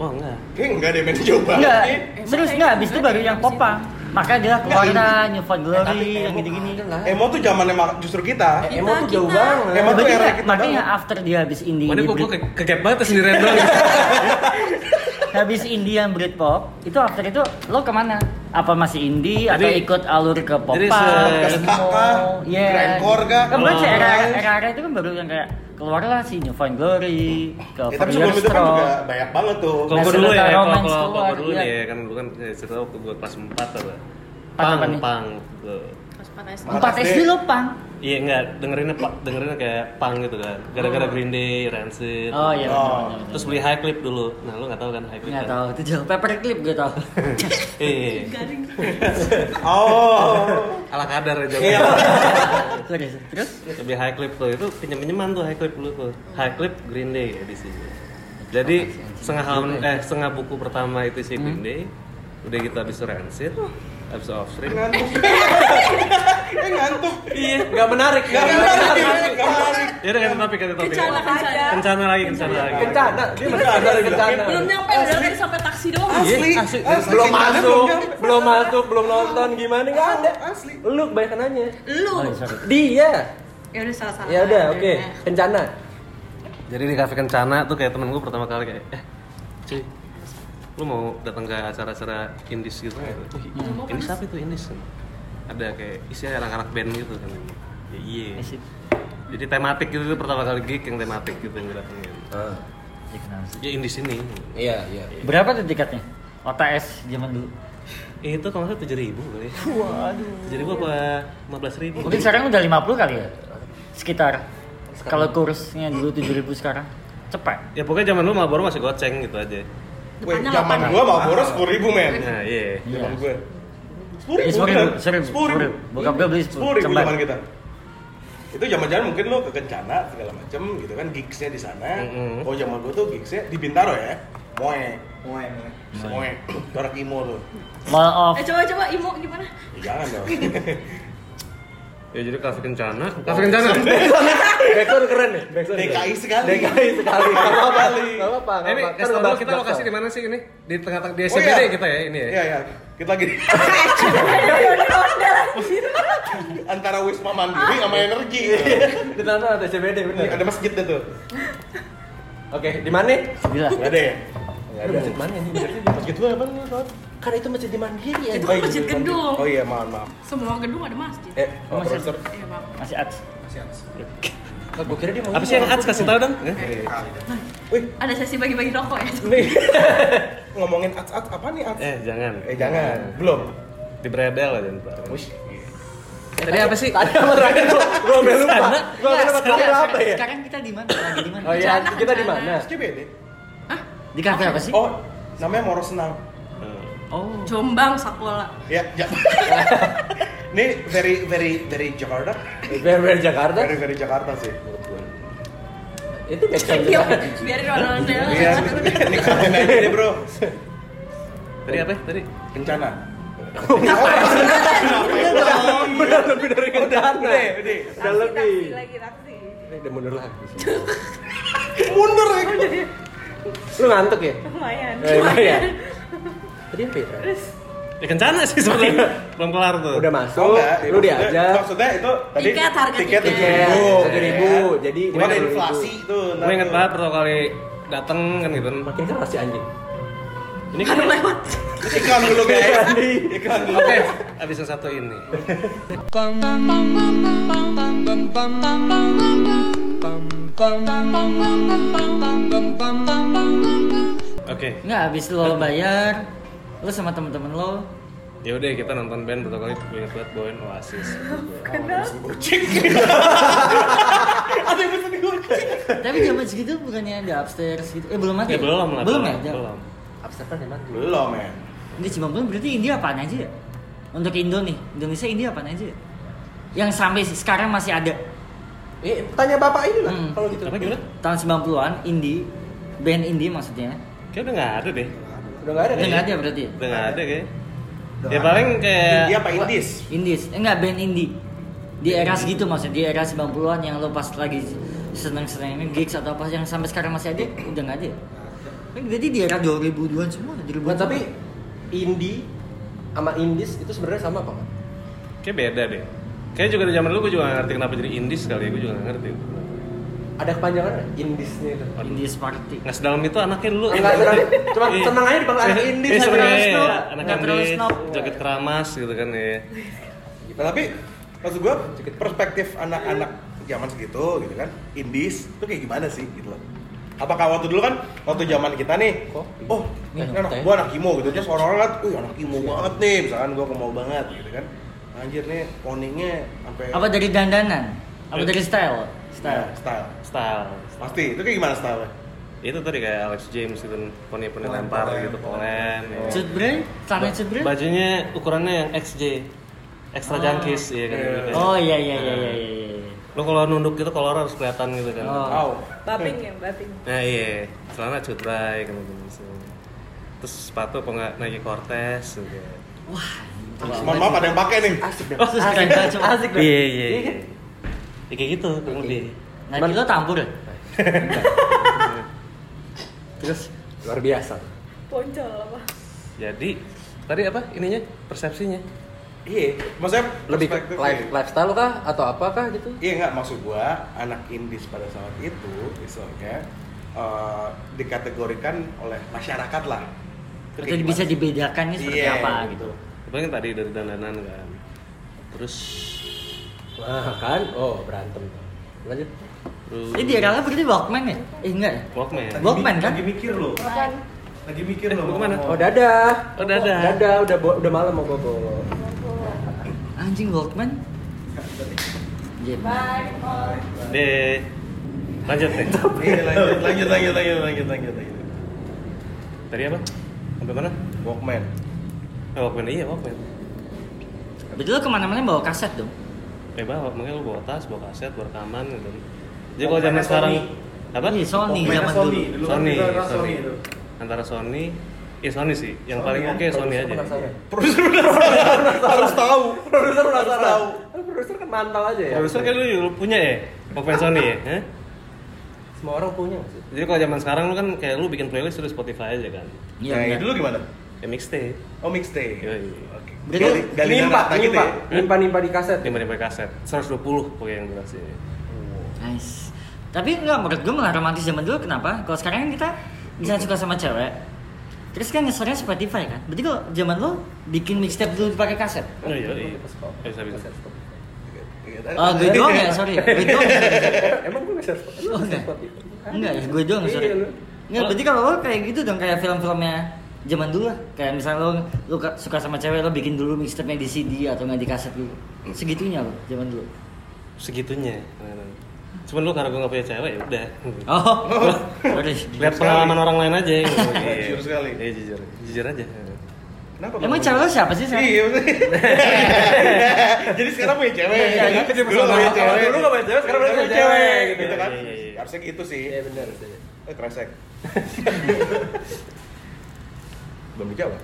S5: Wah, enggak.
S1: Iya,
S3: Kayak enggak deh main coba.
S4: Enggak,
S2: Emo
S4: serius
S2: kayak
S4: enggak
S2: gitu
S4: habis itu
S2: kan
S4: baru
S2: ya,
S4: yang
S2: habis
S4: pop
S2: itu.
S4: pak. Makanya dia keluar
S3: Enggak,
S4: New Found Glory yang gini-gini.
S3: Emo tuh zamannya mak- justru kita.
S2: Kita,
S1: Emo tuh jauh
S2: kita.
S1: banget.
S3: Emo tuh
S4: Tiba-tiba,
S3: era kita
S4: makanya
S3: banget.
S4: after dia habis indie
S5: Mana
S4: indie
S5: gua gua
S4: Brit-
S5: ke- kaget banget sendirian doang.
S4: habis indie yang Britpop itu after itu lo kemana? Apa masih indie atau
S5: Jadi-
S4: ikut alur ke pop
S5: jadi
S4: punk,
S5: se-
S3: Ke ska kah? Grindcore kah?
S4: Kan berarti
S5: Oh.
S4: era era itu kan baru yang kayak keluarlah si New Found Glory, ke
S3: Ya,
S4: Four
S3: tapi sebelum
S4: Year
S3: itu kan
S4: Eh, Strong.
S3: juga banyak banget tuh.
S5: Kalau gua dulu ya,
S4: National
S5: kalau
S4: Romance
S5: kalau- kalau gua
S4: keluar,
S5: dulu
S4: iya.
S5: nih ya, kan dulu kan eh, cerita waktu gua kelas 4 apa.
S4: Empat apa
S5: Pang,
S4: nih?
S5: pang. gitu.
S2: Pas panas.
S4: Empat
S3: SD.
S4: SD lo pang.
S5: Iya enggak, dengerinnya pa- dengerinnya kayak pang gitu kan. Gara-gara Green Day, Rancid.
S4: Oh iya. benar,
S3: Oh.
S4: benar, benar.
S5: Terus beli high clip dulu. Nah, lu enggak tahu kan high clip
S4: Nggak
S5: kan?
S4: tahu, itu jauh. Paperclip gue tahu.
S5: Iya.
S2: Garing.
S3: Oh.
S5: Ala kadar aja.
S3: Iya.
S4: Terus, terus?
S5: Lebih high clip tuh itu pinjam-pinjaman tuh high clip dulu tuh. High clip Green Day ya di sini. Jadi setengah halaman eh setengah buku pertama itu
S4: Hmm.
S5: si Green Day. Udah gitu habis itu Rancid, habis itu Offspring.
S3: Ngantuk. Eh ngantuk.
S1: Iya. Gak menarik.
S3: Enggak menarik, enggak menarik.
S5: Ya udah ganti topik, ganti topik.
S2: Kencana, kencana.
S5: Kencana lagi, kencana lagi.
S1: Kencana. Dia masih ada dari kencana. Iya.
S2: Belum nyampe, udah dari sampai taksi doang.
S3: Asli.
S5: asli.
S3: asli.
S1: Belum
S3: Kencana
S1: masuk,
S3: nyampe.
S1: belum masuk, belum nonton gimana nggak ada.
S3: Asli.
S1: Lu kebanyakan nanya.
S2: Lu.
S4: Oh, iya, sorry.
S1: Dia.
S2: Ya udah Nah, salah-salah.
S1: Ya udah, oke. Kencana.
S5: Jadi di kafe Kencana tuh kayak temen gue pertama kali kayak, eh, cuy, lu mau datang ke acara-acara indis gitu? nggak?" Wih,
S2: Hmm.
S5: Indis apa itu indis? Ada kayak isinya anak-anak band gitu kan? Ya, iya.
S4: Asik.
S5: Jadi tematik gitu tuh pertama kali gig yang tematik gitu yang gue datengin.
S4: Ya, kenapa sih?
S5: Ya indis ini.
S1: Ah, Iya, iya.
S4: Berapa tuh tiketnya? OTS zaman dulu.
S5: Eh, Itu kalau nggak tujuh ribu kali. ya.
S4: Waduh.
S5: Jadi gue apa lima belas ribu?
S4: Mungkin sekarang udah 50 kali ya? Sekitar. Kalau kursnya dulu 7000 sekarang cepat.
S5: Ya pokoknya zaman lu Marlboro masih goceng gitu aja.
S3: Weh,
S2: Depannya
S3: zaman
S2: lapan.
S3: gua Marlboro 10.000, men.
S5: Nah iya.
S4: Iya.
S3: Zaman gue.
S4: Eh, 10.000,
S3: 10.000.
S4: 10.000, 10.000. Bokap gue beli
S3: 10.000
S4: cembar.
S3: zaman kita. Itu zaman-zaman mungkin lo ke Kencana segala macem gitu kan gigsnya di sana.
S5: Mm-mm.
S3: Oh zaman gue tuh gigsnya di Bintaro ya. Moe. Moe. Moe. Torak Imo lo.
S4: Mall of
S2: Eh coba-coba Imo gimana?
S3: Ya, jangan dong.
S5: ya jadi kafe kencana kafe kencana
S1: Backsound keren nih. Backsound
S3: DKI sekali.
S1: DKI sekali. Gak apa-apa. Gak apa-apa.
S5: Eh, ini kan ngobrol kita lokasi di mana sih ini di tengah-tengah di SCBD kita ya ini
S3: Oh,
S5: ya
S3: Iya, iya. Kita lagi di- antara Wisma Mandiri sama energi.
S1: Di sana ada CBD bener.
S3: Ada masjid deh tuh.
S1: Oke, di mana?
S4: Gila.
S3: Enggak ada ya? Nggak
S1: Ada masjid mana ini?
S3: Masjid lu apa nih, Ton?
S1: Kan itu masjid di Mandiri ya.
S2: Itu
S3: Oh, iya,
S2: masjid
S3: Mandiri.
S2: gedung.
S3: Oh iya, maaf, maaf.
S2: Semua gedung ada masjid.
S3: Eh, oh,
S4: Masjid.
S3: terus, terus.
S2: Iya, Bang.
S4: Masih ats.
S1: Gue kira dia mau.
S5: apa sih yang ads kasih tahu dong
S3: Eh, Wih,
S2: Ada sesi bagi-bagi rokok ya.
S3: nih. Ngomongin ads ads apa nih ads?
S5: eh jangan
S3: Eh, jangan. Belum.
S5: di bredel aja ntar
S3: Wih.
S5: tadi apa sih
S1: Tadi apa terakhir gua gua sampe lupa. Gua sampe lupa
S4: Sekarang-
S1: terakhir apa ya?
S4: Sekarang kita di mana? Lagi di mana?
S1: Oh iya, kita di mana?
S3: SCBD.
S4: Di kafe apa sih?
S3: Oh, namanya Moro Senang.
S4: Oh.
S2: Jombang Sakola.
S3: Ya, ja- Ini very very very Jakarta.
S1: Berber Jakarta.
S3: Very very Jakarta sih menurut gue.
S1: Itu backsound
S2: Iya,
S1: juga.
S2: biarin orang-orang
S3: Iya,
S2: dalam.
S3: ini kantin aja deh, Bro.
S5: tadi apa ya? tadi
S3: Kencana.
S1: Bener Iya lebih dari kendaraan.
S3: Udah, udah.
S1: Udah lebih.
S2: lagi taksi.
S1: Udah mundur lagi.
S3: Mundur ya.
S1: Lu ngantuk ya?
S2: Lumayan.
S1: Eh, lumayan. Tadi apa ya? terakhir?
S5: ya kencana sih sebenarnya belum kelar tuh
S1: Udah
S3: Oh,
S1: masuk,
S3: enggak,
S1: lu
S3: maksudnya-
S1: diajak.
S3: Maksudnya itu tadi
S2: Tiket, harga
S3: tiket
S2: tiket.
S1: Tiket,
S3: 7.000.
S1: 7.000, jadi
S3: Cuma ada
S1: 50.000.
S3: kan? inflasi tuh. ntar
S5: gue inget
S3: tuh.
S5: banget pertama kali dateng kan gitu
S1: Makin keras si anjing.
S5: ini kan
S2: Karena lewat.
S3: Iklan dulu
S1: Iya, kan?
S3: guys. Iklan dulu.
S5: oke abis yang satu ini oke
S4: Enggak, habis lo bayar, lo sama temen-temen lo
S5: ya udah kita nonton band pertama kali gue inget banget bawain Oasis
S4: Tapi zaman segitu bukannya ada upstairs gitu Eh belum ada
S5: ya belum lah
S4: Belum ya?
S5: belum
S1: Abstrak di mana?
S3: Belum, men.
S4: Enggak, Cimampong berarti India apaan aja ya? Untuk Indo nih, Indonesia India apaan aja ya? Yang sampai sekarang masih ada
S1: Eh, tanya bapak ini lah
S4: Hmm.
S1: kalau gitu.
S5: apa gimana?
S4: Tahun 90-an, indie Band indie maksudnya
S5: kayak udah nggak ada deh
S1: Udah nggak ada
S4: Udah
S1: kan?
S4: nggak ada berarti ya?
S5: udah nggak ada kayak
S3: Udah
S5: Iya, ya
S3: nggak
S5: paling kayak
S3: India apa Indis?
S4: Indies, eh, enggak band indie Di era segitu maksudnya, di era 90-an yang lo pas lagi seneng-senengnya gigs atau apa yang sampai sekarang masih ada, udah nggak ada ya? Kan Berarti di era 2000-an semua, 2000-an
S1: Nggak, tapi indie sama indies itu sebenarnya sama apa? Pak?
S5: kayak beda deh kayak juga di zaman dulu gue juga nggak ngerti kenapa jadi indies kali ya gue juga nggak ngerti
S1: Ada kepanjangan nggak? indiesnya itu.
S4: Indies party
S5: nggak sedalam itu anaknya dulu
S1: Enggak senang, cuma senang aja dipanggil anak
S5: Iya,
S1: indie
S5: iya,
S1: sama
S5: sebenarnya
S1: terus
S5: ya, anak
S4: Nggak terlalu
S5: indie
S4: snob.
S5: joget keramas gitu kan ya
S3: Nah, tapi maksud gue perspektif anak-anak zaman segitu gitu kan indies itu kayak gimana sih gitu loh apakah waktu dulu kan waktu zaman kita nih oh ini
S1: Minum
S3: anak
S1: teh.
S3: gue anak imo gitu terus orang-orang kan wih anak imo banget nih misalkan gue kemau banget gitu kan anjir nih poningnya sampai
S4: Apa dari dandanan? Apa dari style?
S3: style
S4: Style
S3: style
S5: style
S3: pasti itu kayak gimana style
S5: itu tadi kayak Alex James gitu poni-poni lempar gitu polen ya.
S4: Cut bre? Celana cut bre?
S5: bajunya ukurannya yang XJ extra
S4: Oh.
S5: jangkis ya kan
S3: Iya.
S5: gitu.
S4: Oh iya iya iya iya iya.
S5: lo kalau nunduk gitu kolor harus kelihatan gitu kan
S4: Oh.
S3: tahu
S2: Babing ya, babing.
S5: Nah iya, celana cutrai kan gitu gitu. Terus sepatu apa nggak Nike Cortez gitu.
S3: mohon maaf ada yang pakai nih
S1: Ya. Asik dong.
S4: Oh, terus keren banget, cuma.
S1: asik dong.
S5: Iya, iya,
S1: Iya kan?
S5: Ya kayak gitu kurang lebih.
S4: Nah, Nike lo tampur ya?
S1: Terus luar biasa.
S2: Poncol apa?
S5: Jadi tadi apa ininya persepsinya?
S3: iya maksudnya
S1: Lebih ke
S3: perspektif
S1: life,
S3: nih.
S1: lifestyle kah atau apakah gitu?
S3: Iya nggak maksud gua anak indis pada saat itu misalnya eh, dikategorikan oleh masyarakat lah.
S4: Berarti bisa dibedakannya seperti
S3: Iya,
S4: apa gitu.
S5: Paling tadi dari dandanan kan. Terus
S1: Nah, kan? Oh, berantem. Lanjut.
S5: terus
S4: Ini di era lo berarti Walkman ya? Eh enggak ya?
S5: Walkman.
S3: Lagi
S4: Walkman,
S3: mi-
S4: kan? ya?
S3: Lagi mikir lo. Lagi mikir
S5: Eh,
S3: lo.
S5: mau kemana?
S1: Oh, dadah.
S5: Oh, dadah.
S1: Dadah, udah bo- udah malam mau bobo.
S4: Anjing Walkman? Iya.
S5: Deh. Lanjut deh.
S3: Iya lanjut lanjut lanjut lanjut lanjut lanjut. lanjut.
S5: Tadi apa? Sampai mana?
S3: Walkman.
S5: Eh, Walkman iya Walkman.
S4: Berarti lo kemana-mana bawa kaset dong?
S5: Eh bawa, makanya lu bawa tas, bawa kaset, bawa rekaman gitu. Jadi kalau zaman sekarang apa?
S4: Iya, Sony
S3: Walkman-nya
S4: zaman
S1: kan
S3: Sony.
S4: dulu.
S3: Dulu
S5: Sony,
S3: kita era
S5: Sony.
S3: dulu.
S5: antara Sony ya Sony sih yang paling
S1: kan
S5: oke Sony aja
S3: Produser harus tahu.
S1: Produser penasaran.
S3: tahu.
S1: Kan Produser kan mantau aja ya.
S5: produser kayak lu, lu punya ya Walkman Sony ya Hah?
S1: Semua orang punya nggak sih.
S5: jadi kalau zaman sekarang lu kan kayak lu bikin playlist udah Spotify aja kan
S4: Iya,
S3: Yang
S4: benar.
S3: Nah, dulu gimana?
S5: ya mixtape
S3: Oh mixtape.
S5: Yoi.
S3: Oke.
S4: Berarti
S3: Gali gali
S1: nimpa,
S3: narata gitu
S1: nimpa,
S3: ya.
S1: nimpa, nimpa di kaset.
S5: lima ribu kaset 120 pokoknya yang ya. durasinya
S4: Nice. Tapi enggak menurut gue malah romantis zaman dulu kenapa? Kalau sekarang kan kita bisa suka sama cewek. Terus kan ngesornya Spotify kan. Berarti kalau zaman lo bikin mixtape dulu pakai kaset.
S5: oh iya iya bisa bisa
S1: Kaset stop.
S3: Eh,
S4: Oh, gue doang ya, sorry. Gue doang. ya?
S1: Emang gue ngeser spot? Ngeser
S4: Oh, enggak.
S1: spot itu.
S4: Enggak ya, gue doang
S1: Iya,
S4: sorry.
S1: lu.
S4: Enggak, berarti kalau lo kayak gitu dong kayak film-filmnya zaman dulu lah. Kayak misalnya lo, lo ka- suka sama cewek lo bikin dulu mixtape-nya di CD atau nggak di kaset dulu. Segitunya lo zaman dulu.
S5: segitunya cuman lu karena gue gak punya cewek ya udah
S4: Oh, sorry.
S5: lihat pengalaman orang lain aja gitu. Iya.
S3: Jujur sekali.
S5: iya jujur jujur aja
S3: Kenapa?
S4: Emang
S3: Bang?
S4: cewek lo siapa sih sekarang?
S3: Iya, maksudnya. Jadi sekarang punya cewek.
S4: Iya,
S1: kan
S3: Dulu nggak
S4: iya.
S3: punya
S1: Kalau
S3: cewek.
S1: dulu nggak punya cewek, sekarang
S3: Sekarang
S1: punya
S3: punya cewek
S1: cewek,
S3: gitu
S5: iya,
S3: kan.
S5: iya, iya.
S3: Harusnya gitu sih.
S1: Iya benar sih.
S3: Eh, kresek. Belum dijawab.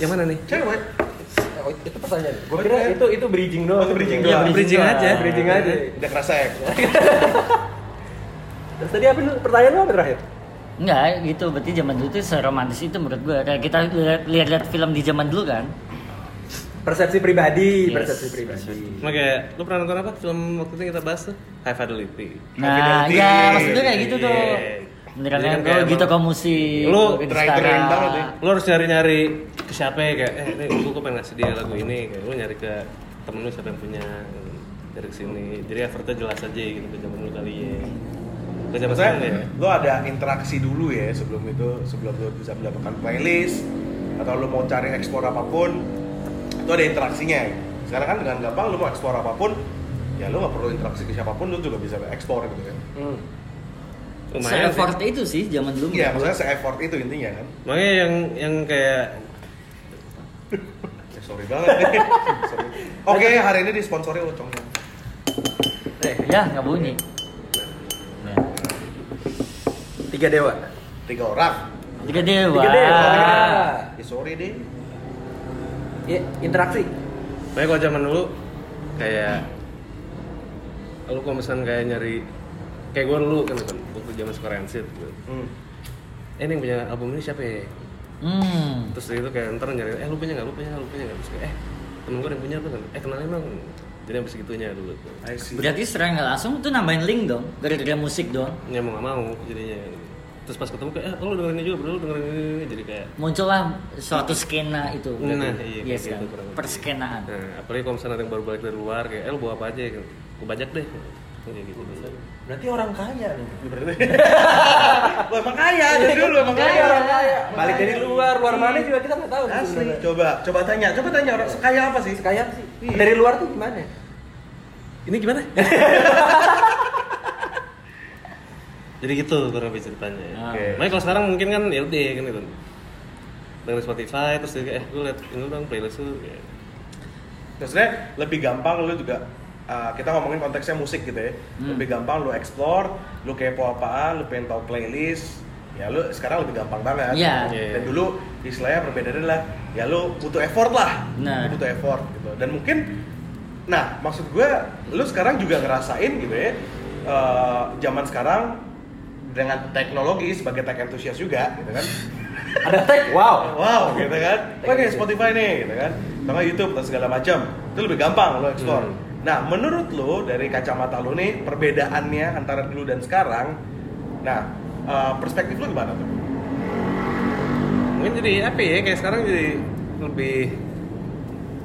S5: yang mana nih
S3: Cewek.
S1: Oh, itu pertanyaan. Gue kira itu itu bridging doang.
S3: Itu bridging
S4: Iya,
S3: doang.
S5: bridging aja. Iya.
S1: Bridging aja.
S3: Udah kresek.
S1: Iya. Terus tadi apa lu? pertanyaan lu apa terakhir?
S4: Enggak, gitu. Berarti zaman dulu tuh seromantis itu menurut gua. Kayak kita lihat- lihat-lihat film di zaman dulu kan.
S1: Persepsi pribadi,
S4: Yes,
S1: persepsi pribadi.
S5: Cuma kayak, lu pernah nonton apa film waktu itu yang kita bahas tuh? High Fidelity
S4: Nah,
S3: Fidelity.
S4: ya maksud gua kayak gitu
S5: Iya.
S4: tuh. Beneran kan
S5: Jadi kan kayak
S4: gitu
S5: emang-
S4: kok musik.
S5: Lu
S4: ke
S3: try-trying
S4: Instagram.
S3: banget ya.
S5: Lu harus nyari-nyari ke siapa ya, kayak, eh ini gue, gue pengen ngasih dia lagu ini kayak, Lu nyari ke temen lu siapa yang punya Dari sini, jadi effortnya jelas aja gitu ke zaman lu kali ya Ke zaman
S3: Maksudnya,
S5: sekarang ya
S3: lo ada interaksi dulu ya sebelum itu, sebelum lo bisa mendapatkan playlist atau lo mau cari ekspor apapun, itu ada interaksinya. Sekarang kan dengan gampang lo mau ekspor apapun, ya lo nggak perlu interaksi ke siapapun, lo juga bisa ekspor gitu kan.
S1: Hmm.
S5: Lumayan sih
S4: Se-effort itu sih zaman dulu.
S3: Iya,
S4: menurut gua.
S3: maksudnya se-effort itu intinya kan.
S5: Makanya yang, yang kayak
S3: Eh, sorry banget. Sorry. Oke, hari ini disponsori lo Cong.
S1: Eh.
S4: Ya, nggak bunyi.
S1: Tiga dewa.
S3: Tiga orang.
S4: Tiga dewa.
S1: Tiga dewa.
S3: Ya sorry deh.
S1: Iya, interaksi.
S5: Tapi kalau zaman dulu kayak lu kalau misalkan kayak nyari kayak gue dulu kan kan waktu zaman suka rancid gitu.
S3: Hmm.
S5: Eh ini yang punya album ini siapa ya?
S4: Hmm.
S5: Terus dari itu kayak ntar nyari, eh lu punya nggak? Lu punya nggak? Lu punya nggak? Terus kayak eh temen gue yang punya apa kan? Eh kenalin dong. Jadi sampai segitunya dulu. tuh.
S3: I see.
S4: Berarti secara nggak langsung tuh nambahin link dong, gara-gara musik doang.
S5: Ya mau nggak mau jadinya. Terus pas ketemu kayak eh lu dengerin ini juga bro, lu dengerin ini, ini. jadi kayak
S4: Muncullah suatu skena itu.
S5: Nah,
S4: berarti.
S5: iya,
S4: yes,
S5: kayak
S4: kan?
S5: gitu kurang lebih.
S4: Perskenaan.
S5: Nah, apalagi kalau misalnya ada yang baru balik dari luar kayak eh lu bawa apa aja gitu. Gue banyak deh. Kayak gitu.
S1: Berarti orang kaya nih.
S3: Lo emang kaya dari dulu emang
S1: Kaya
S3: kaya.
S1: orang kaya. Balik dari luar, luar mana juga kita nggak tahu. sih
S3: Asli.
S1: sebenarnya.
S3: Coba, coba tanya, coba tanya orang sekaya apa sih?
S1: Kaya sih. Dari luar tuh gimana?
S5: Ini gimana? Jadi gitu kurang lebih ceritanya.
S4: Ah.
S5: Oke. Makanya kalau sekarang mungkin kan ya udah kan gitu. Dengerin Spotify terus dia kayak eh gue liat ini dong playlist lu ya. kayak
S3: Maksudnya lebih gampang lu juga uh, kita ngomongin konteksnya musik gitu ya.
S4: Hmm.
S3: Lebih gampang lu explore, lu kepo apaan, lu pengen tahu playlist. Ya lu sekarang lebih gampang banget.
S4: Iya.
S5: Iya.
S3: Dan dulu istilahnya perbedaannya adalah ya lu butuh effort lah.
S4: Nah.
S3: Lu butuh effort gitu. Dan mungkin nah, maksud gua lu sekarang juga ngerasain gitu ya. uh, zaman sekarang dengan teknologi sebagai tech enthusiast juga gitu kan
S1: Ada tag. Wow.
S3: wow gitu kan pakai Spotify nih gitu kan sama YouTube dan segala macam itu lebih gampang lo explore
S5: Hmm.
S3: nah menurut lo dari kacamata lo nih perbedaannya antara dulu dan sekarang nah eh, perspektif lo gimana tuh
S5: mungkin jadi apa ya kayak sekarang jadi lebih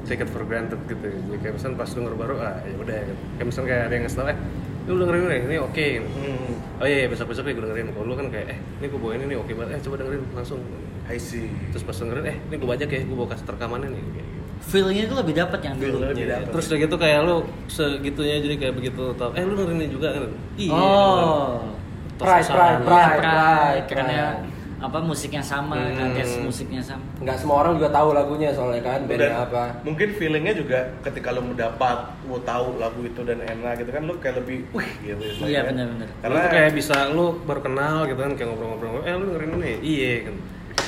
S5: take it for granted gitu jadi kayak misalnya pas denger baru ah ya udah gitu. kayak misalnya kayak ada yang ngasih tau eh lu dengerin ini ini oke gitu.
S3: hmm,
S5: oh iya, iya besok besok ya gue dengerin kalau lu kan kayak eh ini gue bawain ini oke banget eh coba dengerin langsung
S3: I see
S5: terus pas dengerin eh ini gue bajak ya gue bawa kaset rekamannya nih kayak gitu
S4: Feelnya tuh lebih dapat yang dulu.
S3: Feel lebih
S5: Iya,
S3: dapet.
S5: terus udah gitu kayak lu segitunya jadi kayak begitu tau eh lu dengerin ini juga kan iya
S4: Oh.
S5: Tos
S1: Pride,
S5: kesalahan.
S1: pride, pride.
S4: Iya, Pride, ya. karena apa musiknya sama,
S5: Hmm.
S4: kan tes musiknya sama.
S1: Nggak semua orang juga tahu lagunya soalnya kan.
S3: Dan
S1: Bedanya apa?
S3: mungkin feelingnya juga ketika lo mendapat lo tahu lagu itu dan enak gitu kan lo kayak lebih wih gitu istilahnya.
S4: Iya, benar-benar.
S5: Karena tuh kayak bisa lu baru kenal gitu kan kayak ngobrol-ngobrol, eh lu dengerin ini, iya kan.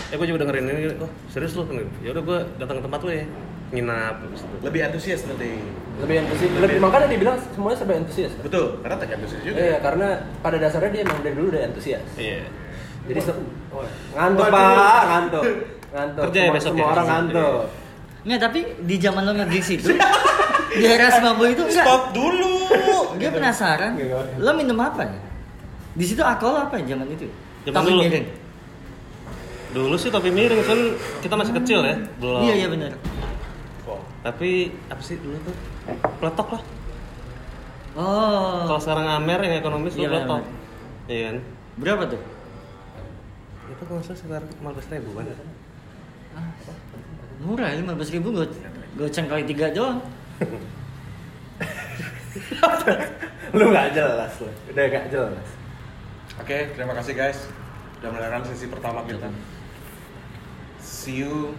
S5: eh gue juga dengerin ini oh serius lu ya udah gue datang ke tempat lu ya nginap gitu. di situ
S3: lebih antusias nanti
S1: lebih antusias lebih makanya dibilang semuanya serba antusias kan?
S3: betul karena tak antusias juga
S1: iya karena pada dasarnya dia emang dari dulu udah antusias
S5: iya
S1: jadi se- Oh, ngantuk
S3: Waduh.
S1: pak ngantuk ngantuk
S5: Kerja ya
S1: semua,
S5: besok
S1: semua
S5: ya?
S1: orang ngantuk
S4: Nggak, tapi di zaman lo nge-gigs itu di era 90 itu enggak.
S3: stop dulu
S4: Gue penasaran. Lo minum apa ya? Di situ alkohol apa ya zaman itu?
S5: Zaman
S4: Tapi
S5: dulu.
S4: miring.
S5: dulu sih tapi miring kan kita masih kecil ya belum
S4: Iya iya benar.
S5: tapi apa sih dulu tuh peletok lah
S4: Oh.
S5: kalau sekarang amer yang ekonomis lu
S4: Iya,
S5: peletok
S4: Amer.
S5: iya kan
S4: Berapa tuh?
S5: itu kalau nggak salah sekitar 15 ribuan ya
S4: Murah, 15 ribu gue goceng kali tiga doang.
S1: lu nggak jelas lu udah nggak jelas
S3: oke terima kasih guys udah mendengarkan sesi pertama
S4: Iya,
S3: kita see you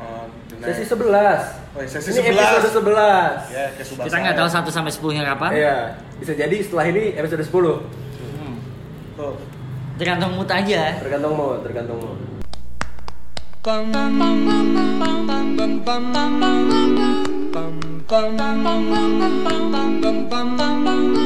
S3: on the
S1: sesi
S3: next
S1: 11
S3: Oh, iya, sesi
S1: ini
S3: 11.
S1: episode 11
S3: ya ke Subasa
S4: Kita nggak tahu
S3: ya.
S4: 1 sampai 10 nya kapan.
S1: Iya, bisa jadi setelah ini episode 10
S4: Hmm.
S3: Tuh.
S4: Tergantung mood aja.
S1: Tergantung mau, tergantung mau
S7: Bum bum bum bum bum bum bum bum bum bum bum bum bum bum